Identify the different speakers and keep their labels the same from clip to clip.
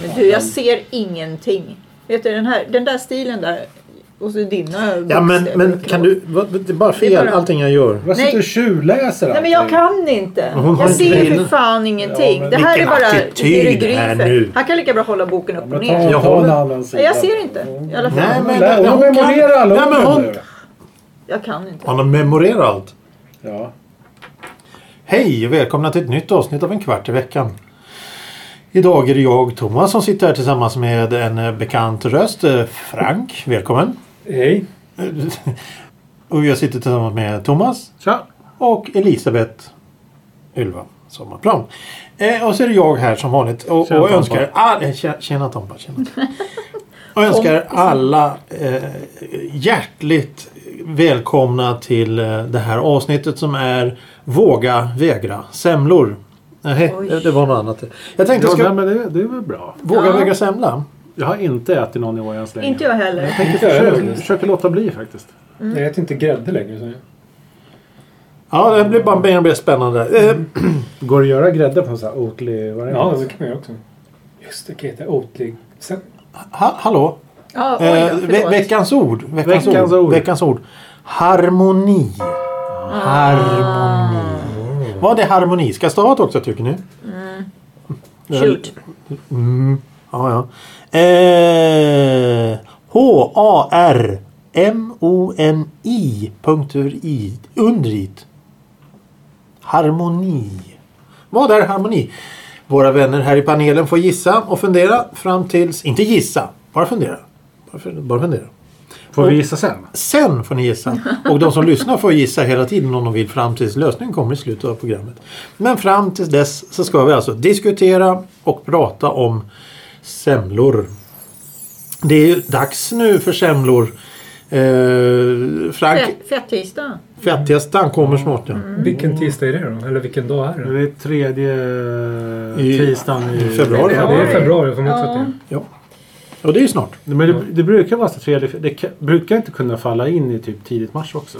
Speaker 1: Men du, jag ser ingenting. Vet du, den, här, den där stilen där. Och så dina
Speaker 2: Ja men,
Speaker 1: bokstäver
Speaker 2: men
Speaker 1: och
Speaker 2: kan du... vad- Det är bara fel
Speaker 1: Det är bara-
Speaker 2: allting jag gör.
Speaker 3: Vad sitter
Speaker 1: Nej.
Speaker 3: du och tjuvläser
Speaker 1: Nej men jag kan inte.
Speaker 2: Men hon har
Speaker 1: Jag
Speaker 2: inte
Speaker 1: ser
Speaker 2: grejerna.
Speaker 1: för fan ingenting.
Speaker 3: Ja, men
Speaker 1: det här är
Speaker 2: vilken
Speaker 1: bara
Speaker 2: attityd här
Speaker 1: hieroglyfer.
Speaker 2: nu.
Speaker 1: Han kan lika bra hålla boken upp och
Speaker 3: Men
Speaker 1: ner.
Speaker 3: ta,
Speaker 2: Jag
Speaker 3: jag
Speaker 2: har-
Speaker 3: ta en annan sida.
Speaker 1: Nej, jag ser inte. I alla fall.
Speaker 2: Nej, men-
Speaker 3: Lä-
Speaker 2: hon
Speaker 3: Hon
Speaker 2: kan-
Speaker 3: memorerar alla
Speaker 2: Nej, men
Speaker 3: orden
Speaker 2: hon-
Speaker 3: nu.
Speaker 1: Jag kan inte.
Speaker 2: Han har memorerat allt.
Speaker 3: Ja.
Speaker 2: Hej och välkomna till ett nytt avsnitt av En kvart i veckan. Idag är det jag, Thomas, som sitter här tillsammans med en eh, bekant röst. eh, Frank, välkommen. Eh,
Speaker 3: Hej.
Speaker 2: Och jag sitter tillsammans med Thomas
Speaker 3: Tja.
Speaker 2: och Elisabeth Ylva Sommarplan. Eh, och så är det jag här som vanligt och,
Speaker 3: Tjena,
Speaker 2: och
Speaker 3: Tompa.
Speaker 2: önskar... All, eh, tjena, tjena Tompa. Tjena. Och önskar alla eh, hjärtligt välkomna till eh, det här avsnittet som är Våga vägra semlor. Nej,
Speaker 1: Oj.
Speaker 2: det, det var något annat. Jag tänkte
Speaker 4: Ja,
Speaker 2: jag
Speaker 4: nej,
Speaker 2: ska
Speaker 4: men det, det är väl bra.
Speaker 2: våga
Speaker 1: Ja.
Speaker 2: vägra semla.
Speaker 4: Jag har inte ätit någon i år än så länge.
Speaker 1: Inte jag heller.
Speaker 4: jag
Speaker 3: Inte jag heller,
Speaker 4: försöker,
Speaker 3: faktiskt.
Speaker 4: försöker låta bli faktiskt.
Speaker 3: Jag äter inte grädde längre. Så.
Speaker 2: Ja, det blir bara mer och mer spännande. Eh,
Speaker 4: Går det att göra grädde på en sån här oatly
Speaker 3: Ja,
Speaker 4: variant?
Speaker 3: det kan man göra också. Just det, kan heta Oatly. Sen,
Speaker 2: ha, hallå?
Speaker 1: Ja, oj,
Speaker 2: Eh,
Speaker 1: då,
Speaker 2: ve
Speaker 1: förlåt.
Speaker 2: veckans ord. Veckans,
Speaker 4: Veckans
Speaker 2: ord.
Speaker 4: ord.
Speaker 2: Veckans ord. Harmoni.
Speaker 1: Ah.
Speaker 2: Harmoni. Vad är harmoni? Ska jag stava det också tycker ni?
Speaker 1: Shoot.
Speaker 2: Ja, ja. Eh, H-A-R-M-O-N-I. Punktur i. Underit. Harmoni. Vad är harmoni? Våra vänner här i panelen får gissa och fundera fram tills... Inte gissa, bara fundera. Bara fun- Bara fundera.
Speaker 4: Får vi gissa sen?
Speaker 2: Sen får ni gissa. Och de som lyssnar får gissa hela tiden om de vill fram tills lösningen kommer i slutet av programmet. Men fram tills dess så ska vi alltså diskutera och prata om semlor. Det är ju dags nu för semlor. Eh, Frank,
Speaker 1: Fett- Fettisdag.
Speaker 2: fettighetsdagen kommer snart. Ja.
Speaker 3: vilken tisdag är det då? Eller vilken dag är det?
Speaker 4: Det är tredje
Speaker 2: I-
Speaker 4: tisdagen i
Speaker 2: februari.
Speaker 3: Ja, det är februari. Får man också
Speaker 1: Ja.
Speaker 3: ja.
Speaker 2: Ja. Och det är ju snart.
Speaker 4: Men det, det brukar vara så tredje... Det ka- brukar inte kunna falla in i typ tidigt mars också.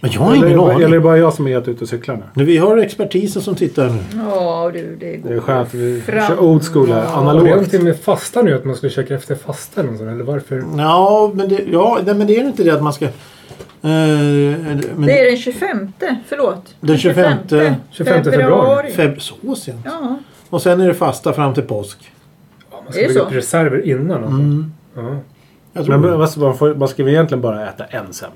Speaker 2: Men jag har
Speaker 4: eller,
Speaker 2: ingen
Speaker 4: eller är det
Speaker 2: aning.
Speaker 4: bara jag som är helt ute och cyklar nu?
Speaker 2: Nu, vi har expertisen som tittar nu.
Speaker 1: Ja, du, det
Speaker 4: Det
Speaker 1: går.
Speaker 4: är skönt. Vi
Speaker 1: Fram-
Speaker 4: kör old school här.
Speaker 3: Var det
Speaker 4: Analogt.
Speaker 3: någonting med fasta nu? Att man skulle käka efter fasta eller något sånt? Eller varför?
Speaker 2: Ja, men det, ja, nej, men det är ju inte det att man ska... eh, men
Speaker 1: Det är den 25. Förlåt.
Speaker 2: Den 25.
Speaker 3: 25 februari.
Speaker 2: feb, så sent.
Speaker 1: Ja.
Speaker 2: Och sen är det fasta fram till påsk.
Speaker 3: Ja, man
Speaker 1: Är
Speaker 3: ska
Speaker 1: det
Speaker 3: bygga
Speaker 1: så?
Speaker 3: upp reserver innan. Alltså. Ja.
Speaker 2: Jag tror
Speaker 4: Men
Speaker 2: det.
Speaker 4: vad ska man, får, man ska väl egentligen bara äta en semla?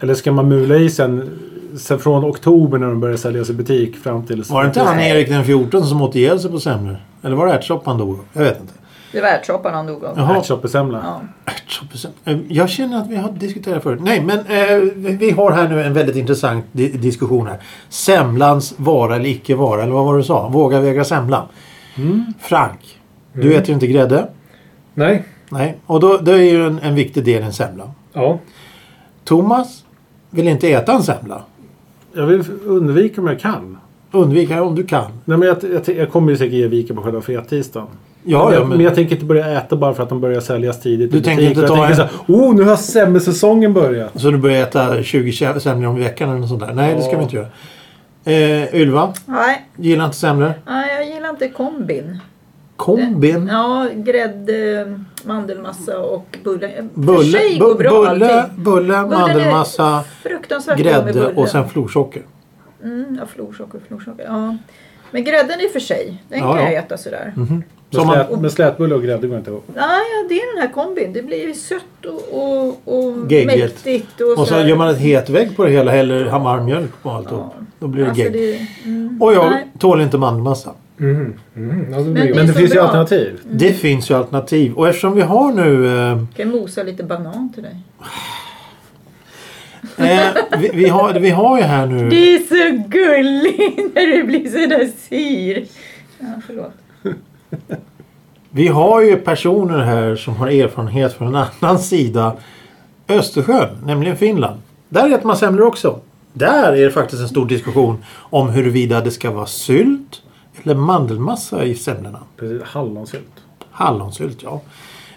Speaker 4: Eller ska man mula i sen, sen från oktober när de börjar säljas i butik fram till...
Speaker 2: Var det inte han Erik den 14 som åt ihjäl sig på semlor? Eller var det ärtsoppan dog av? Jag vet inte.
Speaker 1: Det var ärtsoppan han dog av.
Speaker 2: Jaha.
Speaker 4: Ärtsoppesemla.
Speaker 1: Ja.
Speaker 2: Ärtsoppesemla. Eh, Jag känner att vi har diskuterat förut. Nej, men eh, vi- vi har här nu en väldigt intressant di- diskussion här. Semlans vara eller icke vara. Eller vad var det du sa? Våga väga semla.
Speaker 4: Mm.
Speaker 2: Frank, du äter ju inte grädde.
Speaker 3: Nej.
Speaker 2: Nej, och då, då är ju en, en viktig del en semla.
Speaker 3: Ja.
Speaker 2: Thomas vill inte äta en semla.
Speaker 4: Jag vill undvika om jag kan.
Speaker 2: Undvik här om du kan.
Speaker 4: Nej, men jag, jag, jag kommer ju säkert ge vika på själva fettisdagen.
Speaker 2: Ja,
Speaker 4: men,
Speaker 2: ja,
Speaker 4: jag- men jag tänker inte börja äta bara för att de börjar säljas tidigt
Speaker 2: Du
Speaker 4: i
Speaker 2: tänker
Speaker 4: butik.
Speaker 2: inte
Speaker 4: jag
Speaker 2: ta
Speaker 4: tänker
Speaker 2: en-
Speaker 4: så här, oh, nu har semmelsäsongen börjat.
Speaker 2: Så du börjar äta 20 kä- semlor om veckan eller något sånt där? Nej, det ska vi inte göra. Eh, Ylva,
Speaker 1: Nej,
Speaker 2: gillar inte semlor.
Speaker 1: nej, jag gillar inte kombin.
Speaker 2: Kombin.
Speaker 1: Ja, grädde, mandelmassa och bulle. Eh, För
Speaker 2: Bulle,
Speaker 1: sig
Speaker 2: bu-
Speaker 1: går bra
Speaker 2: bulle,
Speaker 1: allting.
Speaker 2: bulle,
Speaker 1: Bullen är
Speaker 2: mandelmassa,
Speaker 1: Fruktansvärt god med
Speaker 2: grädde
Speaker 1: bulle.
Speaker 2: och sen florsocker.
Speaker 1: Mm, ja, florsocker, florsocker. Ja. Men grädden är för sig. Den
Speaker 2: Ja,
Speaker 1: kan
Speaker 2: ja. Mm.
Speaker 1: jag äta sådär.
Speaker 4: Med,
Speaker 2: Som man-
Speaker 4: slät, med slätbulle och grädde går inte ihop.
Speaker 1: Nej, ja, det är den här kombin. Det blir ju sött och, och, och
Speaker 2: Geggigt.
Speaker 1: mäktigt. Och,
Speaker 2: Och
Speaker 1: sådär.
Speaker 2: sen gör man ett hetvägg på det hela, häller hamarmjölk på allt. och Då blir det
Speaker 1: alltså,
Speaker 2: gegg.
Speaker 1: det, mm,
Speaker 2: Och jag
Speaker 1: nej.
Speaker 2: tål inte mandelmassa.
Speaker 3: Mm. Mm. ja det
Speaker 1: Men
Speaker 3: blir
Speaker 1: det-
Speaker 3: gott.
Speaker 4: Men det
Speaker 1: så
Speaker 4: finns ju
Speaker 1: bra.
Speaker 4: alternativ.
Speaker 2: Det finns ju alternativ. Och eftersom vi har nu... Eh,
Speaker 1: Kan jag mosa lite banan till dig?
Speaker 2: eh, vi, vi, har, vi har ju här nu...
Speaker 1: Det är så gulligt när du blir sådär sur. Ja, förlåt.
Speaker 2: Vi har ju personer här som har erfarenhet från en annan sida Östersjön, nämligen Finland. Där äter man semlor också. Där är det faktiskt en stor diskussion om huruvida det ska vara sylt eller mandelmassa i semlorna.
Speaker 4: Precis, hallonsylt.
Speaker 2: Allonsylt, ja.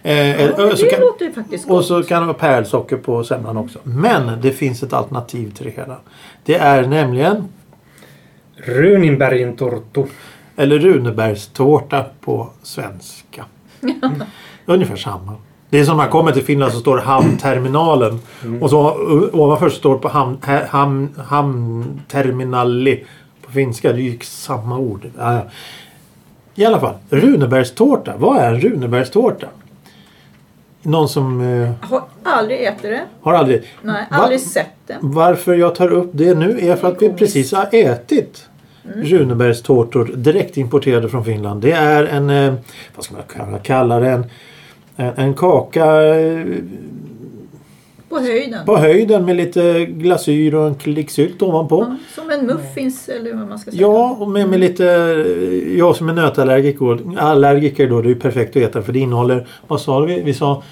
Speaker 2: Eh,
Speaker 1: Ja,
Speaker 2: eh, så
Speaker 1: det
Speaker 2: kan,
Speaker 1: låter ju faktiskt
Speaker 2: och
Speaker 1: gott.
Speaker 2: så kan det vara pärlsocker på semlan också. Men det finns ett alternativ till det hela. Det är nämligen,
Speaker 3: Runinbergintorto.
Speaker 2: eller Runebergstårta på svenska. Ungefär samma. Det är som när man kommer till Finland så står det hamnterminalen. Och så o- ovanför så står det på hamn, ha- hamn, hamnterminali på finska. Det är ju samma ord. Ja, ja. I alla fall, Runebergstårta. Vad är en Runebergstårta? Någon som eh,
Speaker 1: Har aldrig ätit det.
Speaker 2: har aldrig...
Speaker 1: Nej,
Speaker 2: Va-
Speaker 1: aldrig sett det.
Speaker 2: Varför jag tar upp det nu är för att vi precis har ätit Runebergstårtor direkt importerade från Finland. Det är en, eh, vad ska man kalla- kalla det, en, en- en kaka eh,
Speaker 1: På höjden.
Speaker 2: på höjden med lite glasyr och en klick sylt ovanpå.
Speaker 1: Ja, Som en muffins eller vad man ska säga.
Speaker 2: Ja, och med, med lite, eh, jag som är nötallergiker allergiker då, det är ju perfekt att äta för det innehåller, vad sa vi? Vi sa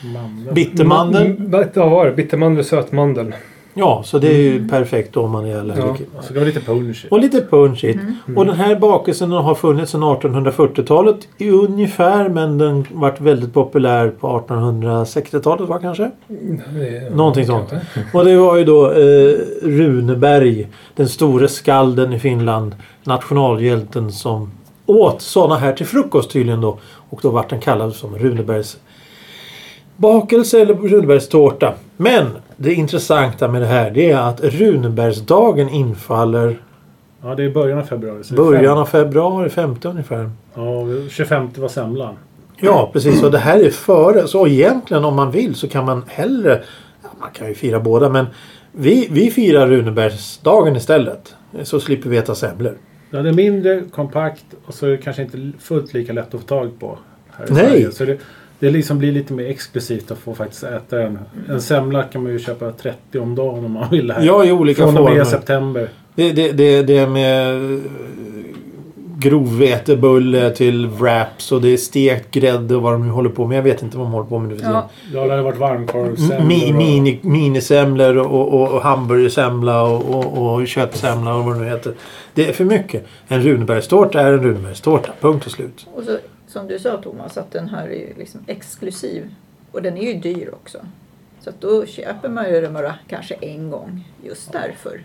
Speaker 2: bittermandel.
Speaker 3: Mm, vad vad var det? Bittermandel och sötmandel.
Speaker 2: Ja, så det är ju perfekt då om man är allergiker.
Speaker 4: Och så
Speaker 3: alltså,
Speaker 4: kan man lite punch i.
Speaker 2: Och lite punchigt. Och den här bakelsen har funnits sedan 1840-talet i ungefär men den vart väldigt populär på 1860-talet var kanske.
Speaker 3: Mm, Det är-
Speaker 2: Någonting sånt.
Speaker 3: kanske.
Speaker 2: Och det var ju då eh, Runeberg, den store skalden i Finland, nationalhjälten som åt sådana här till frukost tydligen då. Och då vart den kallad som Runebergs bakelse eller Runebergstårta. Men det intressanta med det här det är att Runebergsdagen infaller
Speaker 4: Ja, det är i början av februari. så det är
Speaker 2: Början
Speaker 4: fem-
Speaker 2: av februari, 50 ungefär.
Speaker 4: Ja, 25 var semlan.
Speaker 2: Ja, precis. Och det här är före. Så egentligen om man vill så kan man hellre... Ja, man kan ju fira båda men vi, vi firar Runebergsdagen istället. Så slipper vi äta semlor.
Speaker 4: Ja, det är mindre kompakt och så är det kanske inte fullt lika lätt att få tag på. Här i
Speaker 2: Nej.
Speaker 4: Sverige. Så det, det liksom blir lite mer exklusivt att få faktiskt äta en. En semla kan man ju köpa 30 om dagen om man vill. Här.
Speaker 2: Ja, i olika
Speaker 4: Från och med
Speaker 2: former.
Speaker 4: september.
Speaker 2: Det, det, det, det är med eh, grovvetebulle till wraps och det är stekt grädde och vad de nu håller på med. Jag vet inte vad de håller på med nu för tiden.
Speaker 1: Ja,
Speaker 4: Ja, det har varit varmkorv.
Speaker 2: Mi, mini, minisemlor och, och, och hamburgersemla och, och, och köttsemla och vad det nu heter. Det är för mycket. En Runebergstårta är en Runebergstårta. Punkt och slut.
Speaker 1: och så, som du sa Thomas, att den här är ju liksom exklusiv. Och den är ju dyr också. Så att då köper man ju den bara kanske en gång just därför.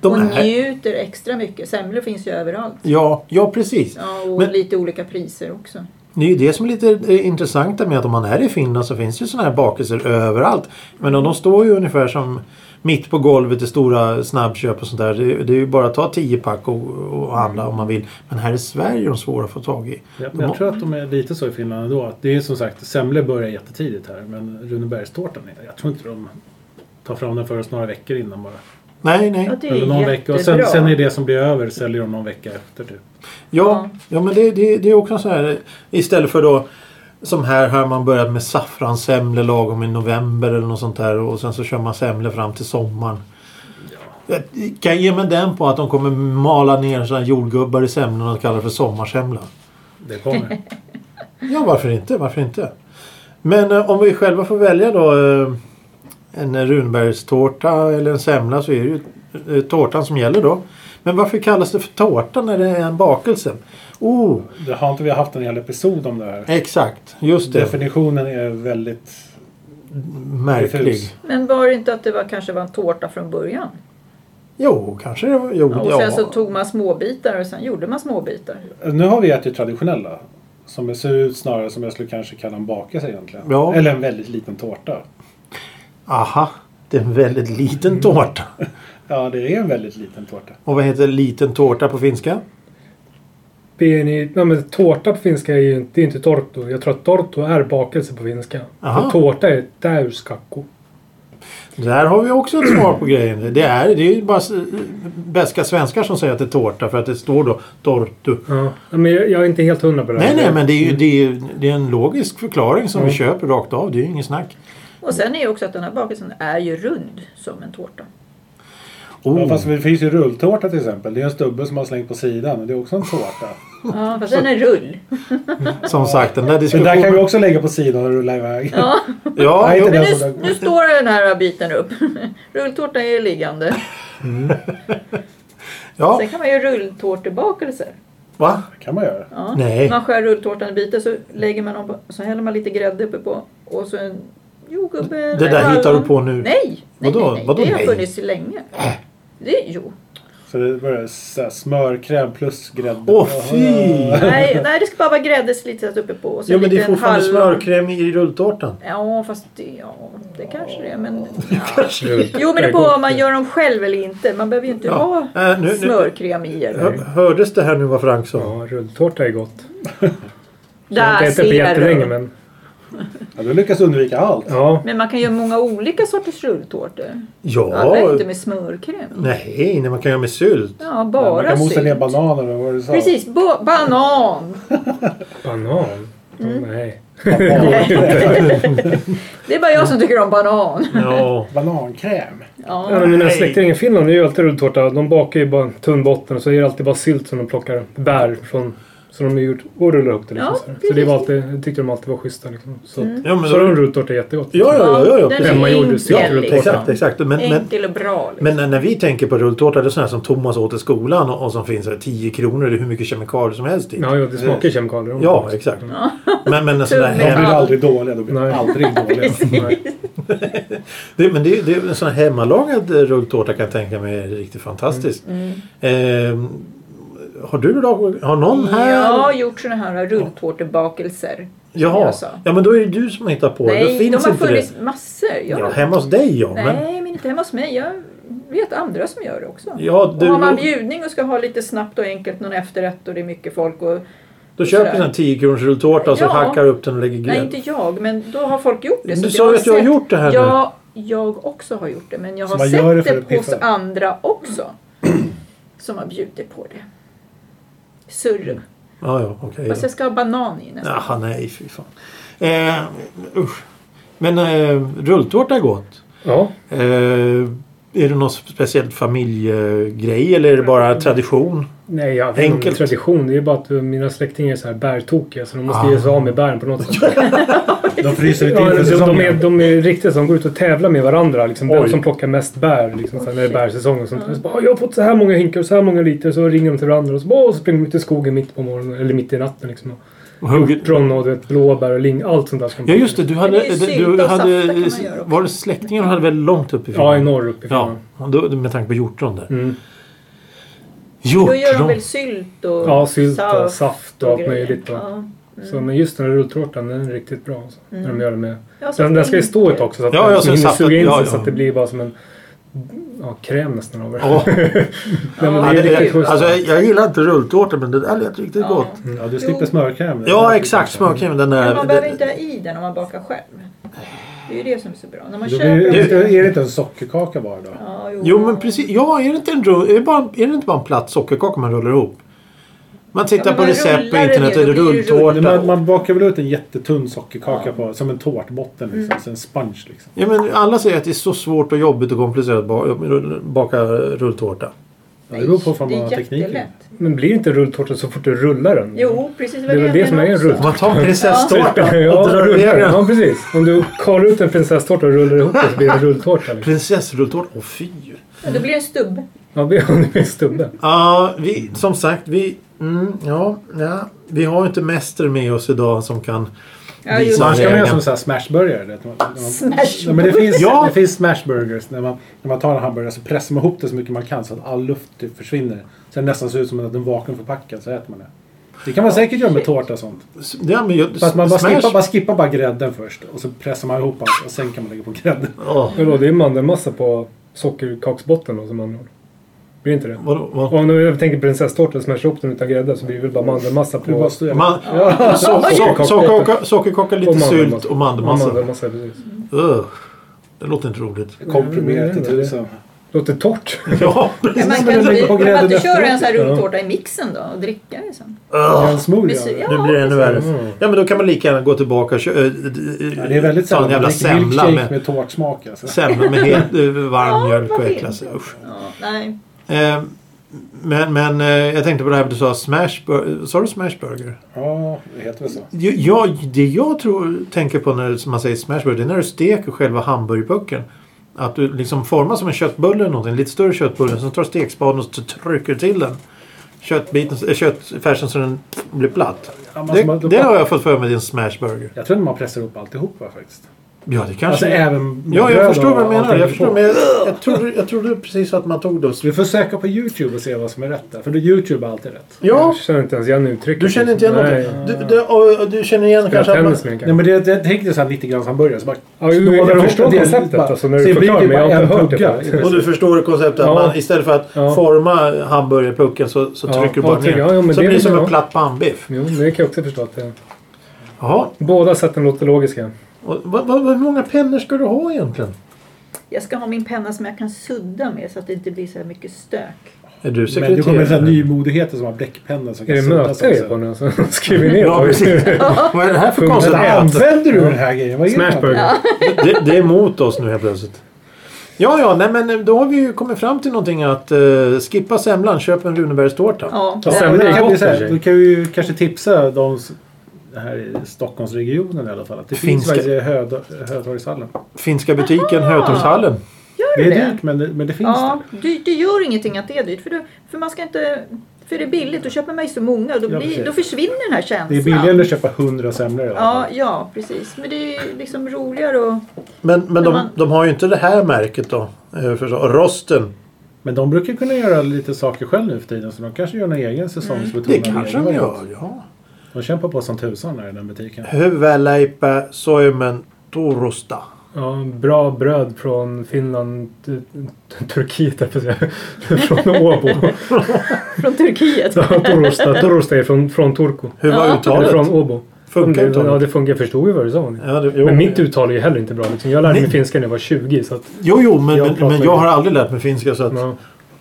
Speaker 2: De
Speaker 1: och
Speaker 2: är,
Speaker 1: njuter extra mycket. Semlor finns ju överallt.
Speaker 2: ja, ja, precis.
Speaker 1: Ja, och
Speaker 2: Men-
Speaker 1: lite olika priser också.
Speaker 2: Det är ju det som är lite eh, intressant med att om man är i Finland så finns det ju sådana här bakelser överallt. Men de, de står ju ungefär som mitt på golvet i stora snabbköp och sånt där. Det, är- det är ju bara att ta tio pack och, och handla om man vill. Men här i Sverige är de svåra att få tag i.
Speaker 4: Ja, men
Speaker 2: De har-
Speaker 4: jag tror att de är lite så i Finland ändå. Att det är som sagt, semlor börjar jättetidigt här. Men Runebergstårtan, jag tror inte de tar fram den förrän några veckor innan bara.
Speaker 2: Nej, nej.
Speaker 1: Ja, det är
Speaker 4: Eller någon vecka. Och sen,
Speaker 1: jättebra.
Speaker 4: sen är det som blir över säljer de någon vecka efter typ.
Speaker 2: Ja,
Speaker 1: Ja.
Speaker 2: ja men det, det, det är också så här. Istället för då som här har man börjat med saffranssemlor lagom i november eller något sånt där och sen så kör man semlor fram till sommaren. Jag kan ge mig den på att de kommer mala ner sådana jordgubbar i semlorna och kalla det för sommarsemla.
Speaker 4: Det kommer.
Speaker 2: Ja, varför inte? Varför inte? Men eh, om vi själva får välja då eh, en runbärstårta eller en semla så är det ju eh, tårtan som gäller då. Men varför kallas det för tårta när det är en bakelse? Oh,
Speaker 4: det har inte vi haft en hel episod om det här.
Speaker 2: Exakt, just det.
Speaker 4: Definitionen är väldigt...
Speaker 2: Märklig.
Speaker 4: diffus.
Speaker 1: Men var det inte att det var, kanske var en tårta från början?
Speaker 2: Jo, kanske det var. Jo,
Speaker 1: Ja, och
Speaker 2: ja.
Speaker 1: sen så tog man småbitar och sen gjorde man småbitar.
Speaker 4: Nu har vi ätit traditionella. Som ser ut snarare som jag skulle kanske kalla en bakelse egentligen.
Speaker 2: Ja.
Speaker 4: Eller en väldigt liten tårta.
Speaker 2: Aha, det är en väldigt liten tårta.
Speaker 4: Ja, det är en väldigt liten tårta.
Speaker 2: Och vad heter liten tårta på finska?
Speaker 3: Bini, nej men tårta på finska är ju inte, det är inte torto. Jag tror att torto är bakelse på finska.
Speaker 2: Aha.
Speaker 3: Och tårta är täyskakko.
Speaker 2: Där har vi också ett svar på grejen. Det är, det är ju bara s- bäska svenskar som säger att det är tårta för att det står då tortu.
Speaker 3: Ja. Men jag, jag är inte helt hundra på det här.
Speaker 2: Nej, nej, men det är ju det är, ju- det är en logisk förklaring som vi
Speaker 3: Mm.
Speaker 2: köper rakt av. Det är ju inget snack.
Speaker 1: Och sen är ju också att den här bakelsen är ju rund som en tårta.
Speaker 2: Oh.
Speaker 4: Ja, fast det finns ju rulltårta till exempel. Det är en stubbe som man har slängt på sidan. Det är också en tårta.
Speaker 1: Ja, fast den är rull.
Speaker 2: Som sagt, den där
Speaker 4: Den där kan vi
Speaker 2: diskussionen...
Speaker 4: också lägga på sidan och rulla iväg.
Speaker 1: Ja,
Speaker 2: Ja,
Speaker 4: Nej,
Speaker 2: jo,
Speaker 4: inte
Speaker 1: men
Speaker 4: den som
Speaker 1: nu, nu står den här biten upp. Rulltårta är ju liggande.
Speaker 2: ja.
Speaker 1: Sen kan man ju rulltårtebakelser.
Speaker 2: Va?
Speaker 4: Det kan man göra.
Speaker 1: Ja.
Speaker 2: Nej.
Speaker 1: Man skär rulltårtan i bitar så lägger man dem på, så häller man lite grädde uppe på och så en jordgubbe. eller
Speaker 2: Det där hittar du
Speaker 1: hallon.
Speaker 2: på nu.
Speaker 1: Nej! nej,
Speaker 2: Vadå?
Speaker 1: nej, nej.
Speaker 2: Vadå
Speaker 1: det har
Speaker 2: nej? Äh.
Speaker 1: funnits länge. Det, jo.
Speaker 4: Så det börjar så här, smörkräm plus grädde.
Speaker 2: Åh fy!
Speaker 1: Nej, nej, det ska bara vara grädde slitet uppe på. Och så
Speaker 2: Jo men det är
Speaker 1: lite en
Speaker 2: fortfarande
Speaker 1: hallon.
Speaker 2: smörkräm i rulltårtan.
Speaker 1: Ja, fast det, ja, det kanske det är. Men,
Speaker 3: Rull.
Speaker 1: Jo, men det är på om man gör dem själv eller inte. Man behöver ju inte
Speaker 2: Ja.
Speaker 1: ha
Speaker 2: Äh, nu, nu.
Speaker 1: smörkräm i.
Speaker 2: Hör-
Speaker 1: Eller.
Speaker 2: Hördes det här nu vad Frank sa?
Speaker 3: Ja, rulltårta är gott. Jag har
Speaker 1: Där
Speaker 3: inte ätit det på
Speaker 1: ser
Speaker 3: jättelänge
Speaker 1: du.
Speaker 3: men...
Speaker 4: Ja, du lyckas undvika allt.
Speaker 3: Ja.
Speaker 1: Men man kan göra många olika sorters rulltårtor. Alla är
Speaker 2: Ja.
Speaker 1: inte med smörkräm.
Speaker 2: Nej, när man kan göra med sylt.
Speaker 1: Ja,
Speaker 4: man
Speaker 1: bara
Speaker 4: kan mosa ner
Speaker 1: sylt.
Speaker 4: bananer och vad du sa.
Speaker 1: Precis, bo- banan.
Speaker 3: Banan?
Speaker 1: Mm.
Speaker 3: Åh, nej.
Speaker 1: Det är bara jag som
Speaker 2: Mm.
Speaker 1: tycker om banan.
Speaker 2: Ja.
Speaker 4: Banankräm.
Speaker 1: Ja.
Speaker 3: Ja, men mina
Speaker 2: Nej.
Speaker 3: släktingar i Finland är ju alltid rulltårta. De bakar ju bara en tunn botten och så är det alltid bara sylt som de plockar bär från. Som de har gjort och rullar upp det liksom.
Speaker 1: Ja,
Speaker 3: så här. så det var alltid, jag tyckte de alltid var schyssta liksom. Så,
Speaker 1: Mm.
Speaker 2: Ja, men
Speaker 3: så
Speaker 2: då-
Speaker 3: de rulltårta är jättegott.
Speaker 2: Ja, ja, ja. ja,
Speaker 1: den
Speaker 2: precis.
Speaker 1: är
Speaker 3: Hemmagjord
Speaker 1: enkel,
Speaker 3: sylt rulltårta.
Speaker 2: Exakt, exakt. Men, men,
Speaker 1: Enkel och bra. Liksom.
Speaker 2: men när- när vi tänker på rulltårta, det är sådana som Thomas åt i skolan och, och som finns här 10 kronor eller hur mycket kemikalier som helst i.
Speaker 3: Ja, ja, det smakar ju kemikalier. de
Speaker 2: Ja,
Speaker 3: också.
Speaker 2: exakt. Men, men en sån där
Speaker 1: Tunna.
Speaker 4: De blir
Speaker 2: hem,
Speaker 4: aldrig dåliga. De blir
Speaker 3: Nej.
Speaker 4: aldrig dåliga.
Speaker 1: liksom.
Speaker 3: Nej.
Speaker 2: det, men det, är- det är en sån här hemmalagad eh, rulltårta kan jag tänka mig är riktigt fantastisk.
Speaker 1: Mm.
Speaker 2: Ehm, har du då, har någon här?
Speaker 1: Jag har gjort såna här rulltårtebakelser.
Speaker 2: Jaha.
Speaker 1: jag sa.
Speaker 2: Ja, men då är det du som har hittat på det. Då
Speaker 1: Nej, de
Speaker 2: finns
Speaker 1: har
Speaker 2: inte
Speaker 1: funnits
Speaker 2: det.
Speaker 1: massor. Jag,
Speaker 2: Ja, hemma hos dig ja. Men,
Speaker 1: Nej, men inte hemma hos mig. Jag vet andra som gör det också.
Speaker 2: ja
Speaker 1: och
Speaker 2: du,
Speaker 1: har man
Speaker 2: då,
Speaker 1: bjudning och ska ha lite snabbt och enkelt någon efterrätt och det är mycket folk. Och,
Speaker 2: då köper du en 10 kronors rulltårta och så
Speaker 1: Ja.
Speaker 2: hackar du upp den och lägger
Speaker 1: nej,
Speaker 2: grädde.
Speaker 1: inte jag, men då har folk gjort det.
Speaker 2: Du
Speaker 1: det
Speaker 2: sa ju att du har gjort det här nu.
Speaker 1: Ja, jag också har gjort det. Men jag
Speaker 4: Så
Speaker 1: har
Speaker 4: man gör det
Speaker 1: sett
Speaker 4: för
Speaker 1: det,
Speaker 4: att piffa
Speaker 1: hos
Speaker 4: det.
Speaker 1: andra också. Som har bjudit på det. Surr.
Speaker 2: Ja, ja, okej.
Speaker 1: Fast
Speaker 2: då.
Speaker 1: jag ska ha banan i nästa.
Speaker 2: Jaha, nej fy fan. Eh, usch. Men eh, rulltårta är gott.
Speaker 3: Ja,
Speaker 2: Eh, är det någon speciell familjegrej eller är det
Speaker 1: Mm.
Speaker 2: bara tradition?
Speaker 3: nej, jag vet inte.
Speaker 2: Enkelt.
Speaker 3: Tradition. Det är ju bara att mina släktingar är så här bärtokiga så de måste
Speaker 2: Ah.
Speaker 3: ge sig av med bären på något sätt.
Speaker 4: De fryser
Speaker 3: Ja,
Speaker 4: lite in för
Speaker 3: de, de, är,
Speaker 4: säsongen.
Speaker 3: de är riktigt som går ut och tävlar med varandra. Liksom, vem
Speaker 2: Oj.
Speaker 3: som plockar mest bär liksom, sen när det är
Speaker 1: Oj.
Speaker 3: bärsäsong. Och sånt. Så bara, jag har fått så här många hinkar och så här många liter. Så ringer de till varandra och så, bara, och så springer de ut i skogen mitt på morgonen. Eller mitt i natten liksom.
Speaker 2: Hugger-
Speaker 3: Hjortron och du vet, blåbär och ling. Allt sånt där. Som
Speaker 2: Ja just det, du hade...
Speaker 1: Det är ju sylta
Speaker 2: Du
Speaker 1: och safta
Speaker 2: hade
Speaker 1: kan man göra också.
Speaker 2: var det släktingar du hade väldigt långt upp i
Speaker 3: Ja, i norr uppe i
Speaker 2: Ja,
Speaker 3: Finland.
Speaker 2: då, med tanke på hjortron där.
Speaker 3: Mm.
Speaker 1: Då gör de väl
Speaker 2: Hjortron!
Speaker 1: sylt och
Speaker 3: Ja, sylt och
Speaker 1: saft
Speaker 3: saft och allt
Speaker 1: grejer.
Speaker 3: möjligt. va.
Speaker 1: Ja. Mm.
Speaker 3: Så, men just den här rulltårtan, den är riktigt bra. Alltså, När de gör det med.
Speaker 1: Ja, så
Speaker 3: Den, den ska ju stå ett
Speaker 1: enkelt.
Speaker 3: tag också så att
Speaker 2: Ja,
Speaker 3: den
Speaker 2: ja, så
Speaker 3: liksom hinner
Speaker 2: saftet-
Speaker 3: suga in sig
Speaker 2: ja, ja.
Speaker 3: så att det blir bara som en ja, kräm nästan av det.
Speaker 2: Ja,
Speaker 3: Nej, men
Speaker 2: ja,
Speaker 3: det
Speaker 2: det,
Speaker 3: är riktigt schysst.
Speaker 2: alltså, jag, jag gillar inte rulltårta men det där lät riktigt
Speaker 1: Ja.
Speaker 2: gott.
Speaker 4: Ja, du slipper smörkräm.
Speaker 2: Ja exakt, smakar den
Speaker 1: Men
Speaker 2: där...
Speaker 1: man behöver inte ha i den om man bakar själv. Det är ju det som är så bra. När man
Speaker 4: Då
Speaker 1: köper
Speaker 4: blir,
Speaker 1: dem-
Speaker 4: är, det, är det inte en sockerkaka bara då?
Speaker 1: Ja,
Speaker 2: Jo men precis, ja är det inte, en, rull- är det bara, är det inte bara en platt sockerkaka man rullar ihop? Man tittar
Speaker 1: men
Speaker 2: på
Speaker 1: man
Speaker 2: recept på
Speaker 1: rullar det ner,
Speaker 2: internet
Speaker 1: då
Speaker 2: eller
Speaker 1: blir det
Speaker 4: Nej,
Speaker 2: rulltårta.
Speaker 4: Man, man bakar väl ut en jättetunn sockerkaka på, som en tårtbotten. Liksom,
Speaker 3: Mm.
Speaker 4: så en sponge liksom.
Speaker 2: Ja, men alla säger att det är så svårt och jobbigt och komplicerat att ba- baka rulltårta.
Speaker 4: Ja, det beror på
Speaker 1: Nej,
Speaker 4: vad man har
Speaker 1: det är
Speaker 4: tekniken. Mm.
Speaker 1: jättelätt.
Speaker 3: Men blir inte rulltårtan så fort du rullar den?
Speaker 1: Jo, precis.
Speaker 3: Det är väl det som är en rutt.
Speaker 2: Man tar en prinsesstårta
Speaker 3: Ja,
Speaker 2: och drar iväg
Speaker 3: rullar.
Speaker 2: den.
Speaker 3: ja, precis. Om du kalar ut en prinsesstårta och rullar ihop det så blir det en rulltårta. Liksom.
Speaker 2: Prinsessrulltårta? Åh fy!
Speaker 1: Men då blir det en stubb.
Speaker 3: Ja, det är en stubbe.
Speaker 2: Ja, vi, som sagt, vi, mm, ja, ja, vi har ju inte mäster med oss idag som kan...
Speaker 1: Ja,
Speaker 2: Visa.
Speaker 1: just
Speaker 4: Man
Speaker 1: det.
Speaker 4: ska man
Speaker 2: Vägen.
Speaker 4: göra som så här smashburgare. vet du. Man- man-
Speaker 1: Smash.
Speaker 4: Ja, men det finns,
Speaker 2: Ja.
Speaker 4: det finns smashburgers. När man, när man tar en hamburgare så pressar man ihop det så mycket man kan så att all luft typ försvinner. Så det nästan ser ut som att den är vakuumförpackad så äter man det. Det kan man säkert göra med tårta och sånt.
Speaker 2: Ja, men jag,
Speaker 4: Fast man bara
Speaker 2: smash-
Speaker 4: skippar, bara skippar bara grädden först och så pressar man ihop allt och sen kan man lägga på grädden.
Speaker 2: Ja,
Speaker 3: Vadå, det är mandelmassa på sockerkaksbotten då som andra ord. Blir inte det?
Speaker 2: vadå,
Speaker 3: Och om du tänker prinsesstårta och smashar ihop den utan grädde så blir det väl bara mandelmassa
Speaker 4: Det är bara
Speaker 3: på...
Speaker 4: att stå-
Speaker 2: vad? Man, so, so, sockerkaka, sockerkaka, lite sylt och
Speaker 3: Ja,
Speaker 2: mandelmassa.
Speaker 3: mandelmassa precis.
Speaker 2: Ugh, det låter inte roligt. Mm,
Speaker 4: komprimerat typ i tusen.
Speaker 3: Låter torrt.
Speaker 2: Ja,
Speaker 1: Men
Speaker 2: precis.
Speaker 1: man
Speaker 4: Men
Speaker 1: kan
Speaker 4: lägg
Speaker 1: inte,
Speaker 4: på
Speaker 1: kan
Speaker 4: grädden
Speaker 1: man inte köra
Speaker 4: efteråt.
Speaker 1: en sån här rulltårta i mixen då och dricka liksom. det sen?
Speaker 4: En
Speaker 2: Ugh,
Speaker 4: smoothie.
Speaker 1: Precis,
Speaker 4: ja. Mm.
Speaker 1: ja.
Speaker 2: nu blir det ännu värre. Ja, men då kan man lika gärna gå tillbaka och köra...
Speaker 4: Ja, det är väldigt
Speaker 2: ta en
Speaker 4: sällan.
Speaker 2: jävla
Speaker 4: Man dricker
Speaker 2: semla
Speaker 4: milkshake med,
Speaker 2: med,
Speaker 4: med tårtsmak. Alltså.
Speaker 2: semla med het, eh, varm
Speaker 1: Ja,
Speaker 2: mjölk och
Speaker 1: varför
Speaker 2: äckla sig.
Speaker 1: inte?
Speaker 2: Usch.
Speaker 1: Ja, nej.
Speaker 2: Eh, Men, men eh, jag tänkte på det här du sa, smashburger. Sa du smashburger?
Speaker 4: Ja, det heter väl så.
Speaker 2: Jo, Jag, det jag tror, tänker på när man säger smashburger, det är när du steker själva hamburgerpucken. Att du liksom formar som en köttbulle eller någonting, lite större köttbulle. Sen tar du stekspaden och så trycker du till den. köttbiten, äh, köttfärsen så den blir platt.
Speaker 4: Ja, men alltså,
Speaker 2: Det,
Speaker 4: man-
Speaker 2: det har jag fått för mig i en smashburger.
Speaker 4: Jag tror att man pressar upp alltihopa faktiskt.
Speaker 2: Ja, det
Speaker 4: Alltså
Speaker 2: kanske...
Speaker 4: även
Speaker 2: ja,
Speaker 4: bröd
Speaker 2: jag förstår
Speaker 4: och
Speaker 2: vad du menar.
Speaker 4: allting
Speaker 2: Jag,
Speaker 4: på.
Speaker 2: förstår, men jag, jag, trodde, jag trodde precis att man tog då...
Speaker 4: Vi får söka på YouTube och se vad som är rätt där. För då YouTube är alltid rätt.
Speaker 2: Ja,
Speaker 3: Jag känner inte ens igen uttrycket. liksom.
Speaker 2: du känner inte igen
Speaker 3: Nej.
Speaker 2: något? Du, du, och- och du känner igen
Speaker 3: Spelar
Speaker 2: kanske att man...
Speaker 3: tennis med en kanske.
Speaker 4: Nej men det, det, jag tänkte såhär 90 grams hamburgare. Så bara,
Speaker 3: Ja, jo,
Speaker 4: snålar
Speaker 3: jag
Speaker 4: de
Speaker 3: förstår
Speaker 4: upp en del,
Speaker 3: konceptet
Speaker 4: bara-
Speaker 3: alltså, när
Speaker 4: så
Speaker 3: du
Speaker 4: blir det
Speaker 3: förklarar, men jag har
Speaker 4: bara
Speaker 3: inte
Speaker 4: en
Speaker 3: hört det
Speaker 4: tugga.
Speaker 3: förut.
Speaker 2: Och du förstår konceptet att
Speaker 3: Ja.
Speaker 2: man istället för att
Speaker 3: Ja.
Speaker 2: forma hamburgerpucken så, så
Speaker 3: Ja,
Speaker 2: trycker du
Speaker 3: ja,
Speaker 2: bara ner.
Speaker 3: trycker- ja, ja, men
Speaker 2: så
Speaker 3: det
Speaker 2: det blir
Speaker 3: vill
Speaker 2: som
Speaker 3: jag
Speaker 2: en
Speaker 3: ha.
Speaker 2: platt pannbiff.
Speaker 3: Jo, men det kan jag också förstå att det
Speaker 2: Jaha.
Speaker 3: Båda sätten låter logiska.
Speaker 2: Och, vad, vad, hur många pennor ska du ha egentligen?
Speaker 1: Jag ska ha min penna som jag kan sudda med så att det inte blir så här mycket stök.
Speaker 2: Är du
Speaker 4: Men det
Speaker 2: sekreterare?
Speaker 4: kommer såhär nymodigheter som har bläckpennor. som
Speaker 3: Är
Speaker 4: kan
Speaker 3: det
Speaker 4: sudda
Speaker 3: möte
Speaker 4: sig
Speaker 3: vi
Speaker 4: sen.
Speaker 3: är på nu alltså? Skriver ner
Speaker 2: Ja,
Speaker 3: på
Speaker 2: precis. Vad är det här för
Speaker 3: Funkar
Speaker 2: konstigt
Speaker 4: Men
Speaker 2: möte?
Speaker 4: använder du den här grejen? Vad är det?
Speaker 3: Smashburger.
Speaker 2: Det, det är emot oss nu helt plötsligt. Ja, ja, nej men då har vi ju kommit fram till någonting att eh, skippa semlan, köp en Runebergstårta.
Speaker 1: Ja,
Speaker 3: Ja,
Speaker 1: det-
Speaker 3: sen-
Speaker 4: men det
Speaker 3: är
Speaker 4: kan vi
Speaker 3: gott i
Speaker 4: säga.
Speaker 3: sig.
Speaker 4: Då kan vi ju kanske tipsa de s- här i Stockholmsregionen i alla fall. Att det finns
Speaker 2: Finska.
Speaker 4: faktiskt i Hö- Hötorgshallen.
Speaker 2: Finska butiken, Hötorgshallen.
Speaker 1: gör
Speaker 4: Det
Speaker 1: du det?
Speaker 4: är dyrt men det, men det finns
Speaker 1: ja, det, det gör ingenting att det är dyrt. För, du, för man ska inte... För det är billigt, då köper man ju så många och då,
Speaker 4: Ja,
Speaker 1: blir,
Speaker 4: precis.
Speaker 1: då försvinner den här känslan.
Speaker 4: det. Det är billigare än att köpa 100 semlor i alla fall.
Speaker 1: Ja, ja, precis. Men det är ju liksom roligare och...
Speaker 2: Men, men de,
Speaker 1: Men man-
Speaker 2: de har ju inte det här märket då. eh, Förstå. Rosten.
Speaker 4: Men de brukar kunna göra lite saker själv nu för tiden. Så de kanske gör någon egen
Speaker 1: Mm.
Speaker 2: Det
Speaker 4: säsongsbetonad
Speaker 2: kanske de
Speaker 4: egen
Speaker 2: gör,
Speaker 4: variant.
Speaker 2: ja.
Speaker 4: De kämpar på som tusan där i den butiken.
Speaker 2: Hyväleipä soimen turusta.
Speaker 3: Ja, bra bröd från Finland, t- t- Turkiet höll jag på att säga. Från Åbo.
Speaker 1: Från Turkiet.
Speaker 3: Ja, Torosta, Torosta är från, från Turku.
Speaker 2: Hur var
Speaker 3: Eller
Speaker 2: uttalet?
Speaker 3: från Åbo.
Speaker 2: Funkar
Speaker 3: det, ja,
Speaker 2: uttalet?
Speaker 3: det funkar. Jag förstod ju vad du sa.
Speaker 2: Ja, det, jo,
Speaker 3: Men mitt uttal är ju heller inte bra. Liksom. Jag lärde mig
Speaker 2: Nej.
Speaker 3: finska när jag var 20. Så att,
Speaker 2: jo, jo, men
Speaker 3: Jag
Speaker 2: jag, men,
Speaker 3: pratar
Speaker 2: men
Speaker 3: ju-
Speaker 2: jag har aldrig lärt mig finska så att...
Speaker 3: ja.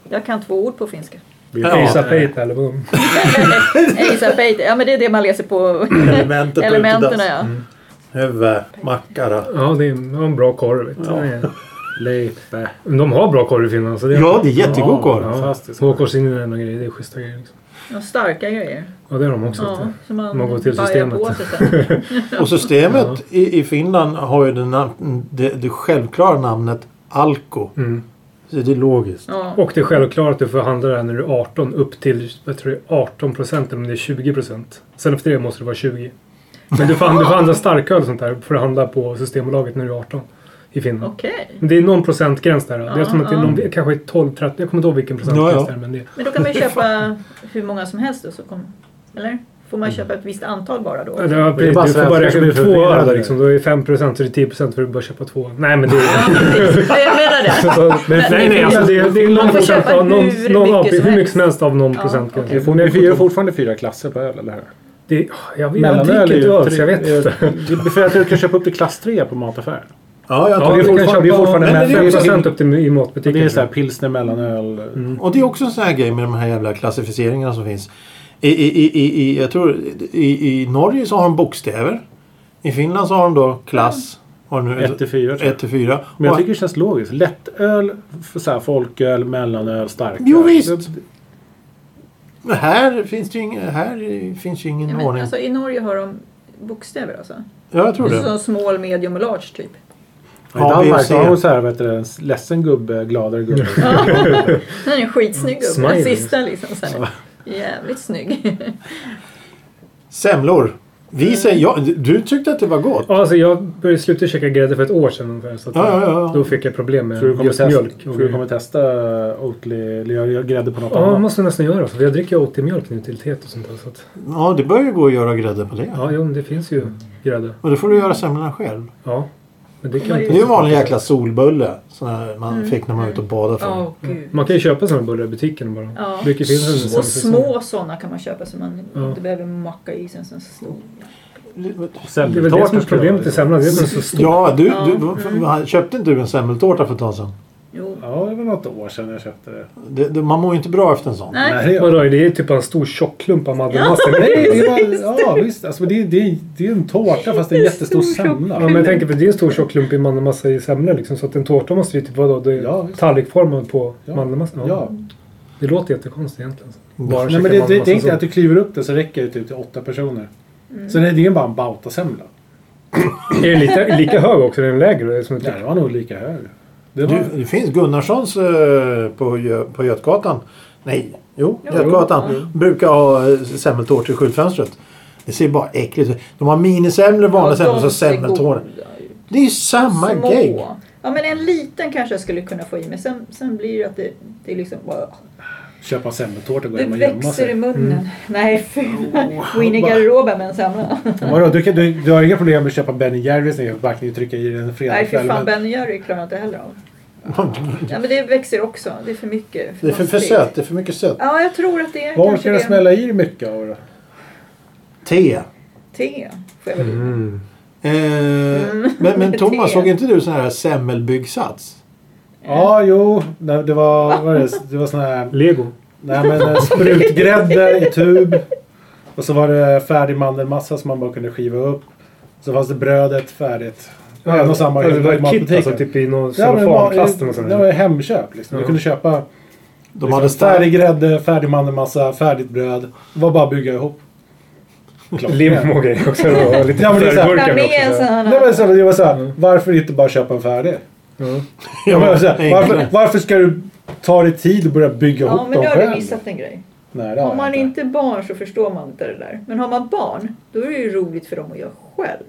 Speaker 1: Jag kan två ord på finska.
Speaker 3: Det
Speaker 2: Ja.
Speaker 3: är Fisa Peita eller vad.
Speaker 1: Eisa peite. Ja, men det är det man läser på
Speaker 2: Elementet
Speaker 1: elementen. Ja.
Speaker 3: alltså. Mm.
Speaker 2: Huvud, mackara.
Speaker 3: Ja, det är en det är en bra korv. Vet du. Ja. Leipe. De har bra korv i Finland. Så det är,
Speaker 2: Ja, det är jättegod korv.
Speaker 3: Ja,
Speaker 4: Fantastiskt.
Speaker 3: Håkorsinen och grejer. Det är schyssta grejer. Liksom.
Speaker 1: Och starka grejer.
Speaker 3: Ja, det är de också. vet
Speaker 1: Ja,
Speaker 3: du.
Speaker 1: så man,
Speaker 3: Man går till
Speaker 1: bajar
Speaker 3: systemet.
Speaker 1: på sig sen.
Speaker 2: Och systemet i, i Finland har ju det, nam- det, det självklara namnet Alko.
Speaker 3: Mm.
Speaker 2: Så det är logiskt.
Speaker 1: Ja.
Speaker 3: Och det är självklart att du får handla det här när du är 18 upp till jag tror det är 18 procent eller om det är 20 procent. Sen efter det måste det vara 20. Men du får, handla- du får handla starköl och sånt där. Får du handla på Systembolaget när du är 18 i Finland.
Speaker 1: Okej.
Speaker 3: Men det är någon procentgräns där. Det är som att det är
Speaker 1: Ja,
Speaker 3: någon, kanske 12-13. Jag kommer inte ihåg vilken
Speaker 2: Ja, ja.
Speaker 3: procentgräns det är. Men det,
Speaker 1: Men då kan man ju köpa hur många som helst. Och så kom, eller? Får man köpa ett visst antal bara då?
Speaker 3: Ja, det var
Speaker 4: Det är
Speaker 3: precis.
Speaker 4: bara
Speaker 3: Du
Speaker 4: så här, folk som är
Speaker 3: får bara räkna med två
Speaker 4: förvirrade.
Speaker 3: öre där liksom. Då är det 5 procent så det är 10 procent för att du bara köpa två. Nej men det är...
Speaker 1: Ja, precis. Men jag menar det.
Speaker 3: Så, nej nej alltså det är, det är
Speaker 1: Man
Speaker 3: någon
Speaker 1: får
Speaker 3: procent
Speaker 1: köpa
Speaker 3: av någon,
Speaker 1: hur
Speaker 3: någon
Speaker 1: mycket
Speaker 3: AP,
Speaker 1: som
Speaker 3: hur mycket
Speaker 1: helst.
Speaker 3: som helst av någon
Speaker 1: Ja,
Speaker 3: procent
Speaker 1: okej.
Speaker 3: kanske.
Speaker 4: Vi får-
Speaker 3: Men jag
Speaker 4: Vi gör
Speaker 3: får-
Speaker 4: fortfarande fyra klasser på öl, eller hur?
Speaker 3: det, jag vet, jag dricker inte öl så jag vet inte.
Speaker 4: inte. För att du kan köpa upp till klass 3 på mataffären.
Speaker 2: Ja, jag
Speaker 3: Ja,
Speaker 2: tror
Speaker 3: vi
Speaker 2: det.
Speaker 4: får-
Speaker 3: kan köpa
Speaker 4: vi är fortfarande
Speaker 3: men
Speaker 2: med.
Speaker 3: det är
Speaker 2: Men
Speaker 3: 5
Speaker 2: det är
Speaker 3: procent upp till, i matbutiken.
Speaker 4: Det är så här pilsner, mellanöl.
Speaker 3: Mm.
Speaker 2: Och det är också en sån här grej med de här jävla klassificeringarna som finns. I, i, i, i, i, jag tror, i, I Norge så har de bokstäver. I Finland så har de då klass. Har nu,
Speaker 4: 1 till 4. tror jag.
Speaker 2: 1 till 4.
Speaker 4: Men jag tycker det känns logiskt. Lättöl, f- så här, folköl, mellanöl, starköl.
Speaker 2: Jo, visst.
Speaker 4: Det-
Speaker 2: Men här finns det ju ingen, här finns ju ingen
Speaker 1: Ja, men,
Speaker 2: ordning.
Speaker 1: alltså, I Norge har de bokstäver alltså?
Speaker 2: ja, jag tror det.
Speaker 1: Så small, medium och large typ.
Speaker 4: I
Speaker 2: Ja,
Speaker 4: Danmark
Speaker 2: BFC.
Speaker 4: så har hon så här, vet du, en ledsen gubbe, gladare gubbe.
Speaker 1: Den är en skitsnygg gubbe. Den
Speaker 3: Smiley.
Speaker 1: sista liksom. Så här. Jävligt snygg.
Speaker 2: Semlor.
Speaker 1: Mm.
Speaker 2: Vi säger ja. Du tyckte att det var gott.
Speaker 3: Ja, alltså jag började sluta käka grädde för ett år sedan ungefär. Så att
Speaker 2: Ja, ja, ja.
Speaker 3: Då fick jag problem med
Speaker 4: Tror du kommer
Speaker 3: just
Speaker 4: testa,
Speaker 3: mjölk.
Speaker 4: tror du kommer testa Oatly, eller göra grädde på något
Speaker 3: Ja, det
Speaker 4: annat?
Speaker 3: måste jag nästan göra. För jag dricker ju Oatly-mjölk nu till teet och sånt där. Så att,
Speaker 2: Ja, det börjar ju gå att göra grädde på det.
Speaker 3: ja, jo, men det finns ju grädde.
Speaker 2: Och då får du göra semlorna själv.
Speaker 3: Ja. Men det kan
Speaker 1: Vad
Speaker 3: inte-
Speaker 2: Det är ju en vanlig jäkla solbulle. Sån här man
Speaker 1: Mm.
Speaker 2: fick när man var ute och badade
Speaker 1: Åh
Speaker 2: för.
Speaker 1: gud.
Speaker 3: Man kan ju köpa sådana bullar i butiken bara.
Speaker 1: Ja.
Speaker 3: Vilket finns en
Speaker 1: Så
Speaker 3: sån säsong.
Speaker 1: små sådana kan man köpa så man
Speaker 3: Ja.
Speaker 1: inte behöver macka i sig en sån stor.
Speaker 3: Det är väl det som är problemet i semlan. Det är väl så stor.
Speaker 2: Ja, du,
Speaker 1: Ja, Mm.
Speaker 2: du köpte inte du en semmeltårta för ett tag sedan?
Speaker 1: Jo.
Speaker 4: Ja, det var något år sedan jag köpte det.
Speaker 2: Det, det, man mår ju inte bra efter en sån.
Speaker 1: Nej.
Speaker 4: Nej,
Speaker 3: Vadå, det är typ en stor tjock klump av mandelmassa.
Speaker 4: Nej, det var, ja visst. Alltså, men det, är- det, är- det är en tårta fast det är en jättestor
Speaker 3: Ja,
Speaker 4: semla.
Speaker 3: men jag tänker på det är en stor tjock klump i mandelmassa i semlor liksom. Så att en tårta måste ju typ vara då, det är
Speaker 4: Ja, visst.
Speaker 3: tallrikformad på
Speaker 4: Ja.
Speaker 3: mandelmassa.
Speaker 4: Ja.
Speaker 3: Det låter jättekonstigt egentligen. Bara
Speaker 4: Nej,
Speaker 3: käka
Speaker 4: men det, det,
Speaker 3: mandelmassa
Speaker 4: tänk dig
Speaker 3: så.
Speaker 4: att du kliver upp det så räcker det typ till åtta personer.
Speaker 1: Mm.
Speaker 4: Så nej, det är bara en bautasemla.
Speaker 3: Är den lika, lika hög också? Är den lägre? Det är som ett
Speaker 4: Ja, det var nog lika hög. Det var,
Speaker 2: Du, det finns Gunnarssons eh, på, Gö- på Götgatan. Nej, Jo,
Speaker 1: Jo.
Speaker 2: Götgatan
Speaker 1: Mm.
Speaker 2: brukar ha eh, semmeltårtor i skyltfönstret. Det ser bara äckligt ut. De har minisemlor, vanliga semlor och så semmeltåror. Det är ju samma
Speaker 1: Små.
Speaker 2: grej.
Speaker 1: Ja men en liten kanske jag skulle kunna få i men sen, sen blir det att det, det är liksom bara...
Speaker 4: Köpa semmeltårta och gå
Speaker 1: Det
Speaker 4: hem och gömma
Speaker 1: växer i
Speaker 4: sig.
Speaker 1: munnen. Nej fy. Gå in i garderoben med en semla.
Speaker 4: Vadå, du, kan- du, du har inga problem med att köpa Ben Jerrys nya förpackning och trycka i den en
Speaker 1: Nej fy
Speaker 4: fredagkväll.
Speaker 1: fan
Speaker 4: men-
Speaker 1: Ben Jerry klarar jag inte heller av. Ja men det växer också. Det är för mycket.
Speaker 2: Det är för, för
Speaker 1: mastigt.
Speaker 2: sött. Det är för mycket sött.
Speaker 1: Ja jag tror att det är
Speaker 4: Vad
Speaker 1: kanske
Speaker 4: orkar du
Speaker 1: det.
Speaker 4: smälla i dig mycket av då?
Speaker 2: Te.
Speaker 1: Te får jag väl
Speaker 3: Mm.
Speaker 2: Eh, Men, men
Speaker 1: Mm. Te.
Speaker 2: Thomas, såg inte du sån här semmelbyggsats?
Speaker 4: Ja, jo. Nej, det var, vad är det? det var sån här...
Speaker 3: Lego.
Speaker 4: Nej, men eh, sprutgrädde i tub. Och så var det färdig mandelmassa som man bara kunde skiva upp. Så fanns det brödet färdigt. Ja, en och samma
Speaker 3: alltså, det var kit
Speaker 4: matbutiken.
Speaker 3: alltså, typ i någon
Speaker 4: Ja, men det
Speaker 3: cellofanplast eller
Speaker 4: var, det var
Speaker 3: sånt.
Speaker 4: Hemköp liksom. Du
Speaker 3: Ja.
Speaker 4: kunde köpa
Speaker 2: De hade
Speaker 4: färdig
Speaker 2: stark...
Speaker 4: grädde, färdig mandelmassa, färdigt bröd. Det var bara att bygga ihop. Klart.
Speaker 3: Lim och grejer också. Och lite
Speaker 4: Ja, men det är så
Speaker 1: Ta
Speaker 4: här-
Speaker 3: färgburkar
Speaker 1: med en
Speaker 3: också.
Speaker 1: sån
Speaker 3: så här.
Speaker 4: Nej, men
Speaker 1: här.
Speaker 4: så, det var så här,
Speaker 2: Mm.
Speaker 4: varför inte bara köpa en färdig?
Speaker 3: Ja.
Speaker 4: Ja, men, så här, varför,
Speaker 2: enklare.
Speaker 4: varför ska du ta dig tid och börja bygga
Speaker 1: Ja
Speaker 4: ihop
Speaker 1: men
Speaker 4: dem
Speaker 1: nu har du
Speaker 4: själv?
Speaker 1: missat en grej.
Speaker 4: Nej, det har
Speaker 1: Om
Speaker 4: jag
Speaker 1: man
Speaker 4: inte.
Speaker 1: inte är barn så förstår man inte det där. Men har man barn då är det ju roligt för dem att göra själv.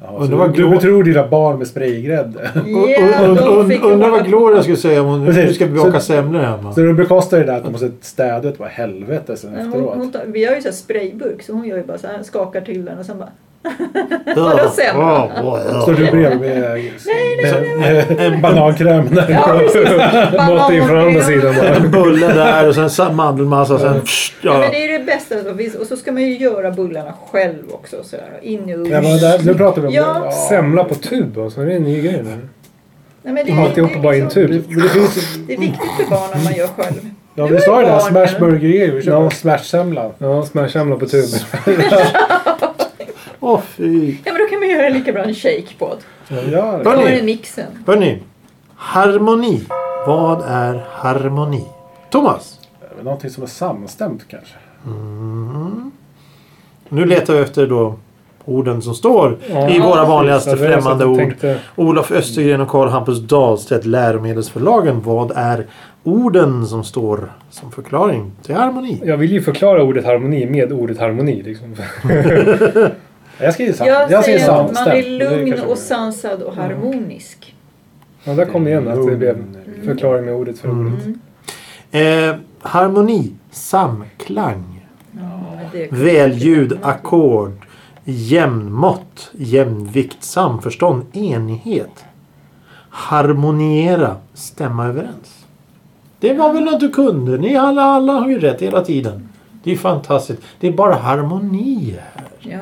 Speaker 4: Ja,
Speaker 2: Undrar
Speaker 4: så
Speaker 2: vad
Speaker 4: du- du
Speaker 2: Glor-
Speaker 4: betror dina barn med spraygrädde.
Speaker 1: Ja,
Speaker 2: Und-
Speaker 1: då
Speaker 2: und-
Speaker 1: fick jag hålla
Speaker 2: Undrar vad Gloria skulle säga om hon nu
Speaker 4: Precis.
Speaker 2: ska baka
Speaker 4: Så-
Speaker 2: semlor hemma.
Speaker 4: Så du bekostar det där att de måste städa ut. Vad helvete sen
Speaker 1: Men Hon, hon
Speaker 4: efteråt.
Speaker 1: tar, vi har ju så här sprayburk så hon gör ju bara så här, skakar till den och sen bara
Speaker 2: Ja,
Speaker 1: semlor?
Speaker 2: ja, ja.
Speaker 4: Står du bredvid med, med en banankräm? där?
Speaker 1: Ja precis!
Speaker 3: Mat in från andra sidan bara.
Speaker 2: En bulle där och sen sa- mandelmassa och sen... pssst,
Speaker 1: Ja. Men
Speaker 2: ja.
Speaker 1: det är ju det bästa som finns. Och så ska man ju göra bullarna själv också. Så där. In i ugn.
Speaker 4: Nej, men där, nu pratar vi om
Speaker 1: Ja.
Speaker 4: det.
Speaker 3: Semla på tub alltså. Det är en ny grej där.
Speaker 1: Nej, men det, är-
Speaker 3: Alltihop
Speaker 1: det är
Speaker 3: bara i en
Speaker 1: liksom-
Speaker 3: tub.
Speaker 4: Men det finns,
Speaker 1: Det är viktigt för barn när man gör själv.
Speaker 4: ja, vi sa ju det här,
Speaker 1: Barn, ja.
Speaker 4: smashburgergrejer. Vi köper smashsemla.
Speaker 3: Ja, smashsemla på tub.
Speaker 2: Åh fy.
Speaker 1: Ja men då kan man göra lika bra en shake på det.
Speaker 4: Ja,
Speaker 1: Då
Speaker 2: Hörni.
Speaker 1: är det mixen.
Speaker 2: Hörni. Harmoni. Vad är harmoni? Thomas.
Speaker 4: det är någonting som är samstämt kanske.
Speaker 2: Nu letar vi efter då orden som står i
Speaker 3: Ja,
Speaker 2: våra
Speaker 3: precis.
Speaker 2: vanligaste
Speaker 3: Ja, det var det
Speaker 2: främmande
Speaker 3: jag
Speaker 2: ord.
Speaker 3: tänkte.
Speaker 2: Olof Östergren och Carl Hampus Dahlstedt, läromedelsförlagen. Vad är orden som står som förklaring till harmoni?
Speaker 3: Jag vill ju förklara ordet harmoni med ordet harmoni. Liksom.
Speaker 4: Jag skriver sam-
Speaker 1: Jag,
Speaker 4: skriver
Speaker 1: säger att man
Speaker 4: samstämt.
Speaker 1: är
Speaker 4: Det
Speaker 1: lugn
Speaker 4: kanske-
Speaker 1: och sansad och harmonisk.
Speaker 3: Ja, där kom det igen att det blev
Speaker 4: Lugn.
Speaker 3: förklaring med ordet för ordet.
Speaker 2: Eh, harmoni, samklang,
Speaker 1: Ja, men
Speaker 2: Mm.
Speaker 1: det är
Speaker 2: välljud, ackord, jämnmått, jämvikt, samförstånd, enighet. Harmoniera, stämma överens. Det var väl något du kunde? Ni alla, alla har ju rätt hela tiden. Det är fantastiskt. Det är bara harmoni här.
Speaker 1: Ja.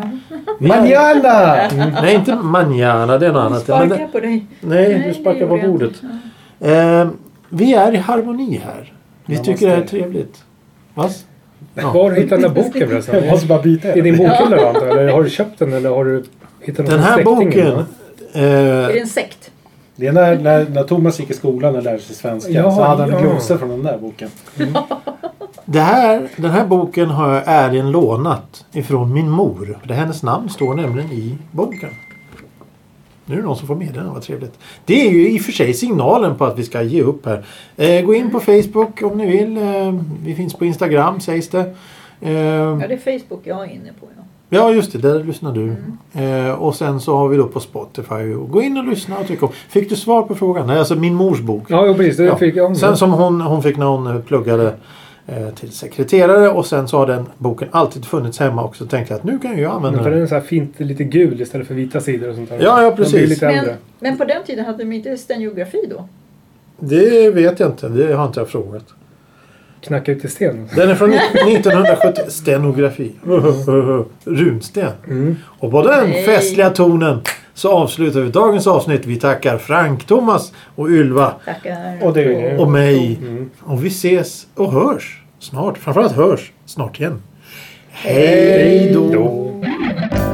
Speaker 2: Vi är-
Speaker 4: Manjana!
Speaker 1: Mm.
Speaker 2: Nej, inte manjana. Det är något annat. Men
Speaker 1: Sparka
Speaker 2: det,
Speaker 1: på dig.
Speaker 2: nej,
Speaker 1: Nej,
Speaker 2: du
Speaker 1: det
Speaker 2: sparkar
Speaker 1: gjorde
Speaker 2: på
Speaker 1: jag
Speaker 2: bordet.
Speaker 1: inte.
Speaker 2: Eh, vi är i harmoni här. Vi
Speaker 4: Jag
Speaker 2: tycker det här är
Speaker 4: måste-
Speaker 2: trevligt. Va?
Speaker 3: Var har du hittat den där boken
Speaker 4: Jag
Speaker 3: förresten?
Speaker 4: måste bara bita
Speaker 3: I
Speaker 4: i
Speaker 3: din bokhylla då, antar jag? eller har du köpt den eller har du hittat någon
Speaker 2: Den här
Speaker 3: släkting
Speaker 2: boken.
Speaker 3: innan?
Speaker 1: Är det
Speaker 2: Eh,
Speaker 1: en sekt?
Speaker 4: Det är när, när, när Thomas gick i skolan och lärde sig svenska
Speaker 3: Ja,
Speaker 4: så hade han
Speaker 3: ja.
Speaker 4: glosor från den där boken.
Speaker 2: det här, den här boken har jag ärligen lånat ifrån min mor. Det hennes namn står nämligen i boken. Nu är det någon som får med den, vad trevligt. Det är ju i och för sig signalen på att vi ska ge upp här. Eh, gå in på Facebook om ni vill. Eh, vi finns på Instagram sägs det. Eh,
Speaker 1: Ja, det är Facebook jag är inne på. Ja.
Speaker 2: Ja just det, där lyssnar du. Eh, och sen så har vi då på Spotify. Gå in och lyssna och tyck om. Fick du svar på frågan? Nej, alltså min mors bok.
Speaker 3: Ja, jo, precis. Det
Speaker 2: Ja.
Speaker 3: fick jag.
Speaker 2: Sen som hon, hon fick när hon eh, pluggade eh, till sekreterare och sen så har den boken alltid funnits hemma också. Så tänkte jag att nu kan ju jag
Speaker 3: Men
Speaker 2: använda
Speaker 3: för den
Speaker 2: den.
Speaker 3: är så här fint lite gul istället för vita sidor och sånt där.
Speaker 2: Ja, ja,
Speaker 3: Den blir
Speaker 2: precis.
Speaker 3: lite äldre.
Speaker 1: Men, men på den tiden hade de inte stenografi då?
Speaker 2: Det vet jag inte, det har inte jag frågat.
Speaker 3: Knacka ut i sten.
Speaker 2: Den är från 1970. Stenografi. Runsten.
Speaker 3: Mm.
Speaker 2: Och på den
Speaker 1: Nej.
Speaker 2: festliga tonen så avslutar vi dagens avsnitt. Vi tackar Frank, Thomas och Ylva.
Speaker 1: Tackar.
Speaker 4: Och det-
Speaker 2: och mig.
Speaker 3: Mm.
Speaker 2: Och vi ses och hörs snart. Framförallt hörs snart igen. Hej då!
Speaker 3: Då.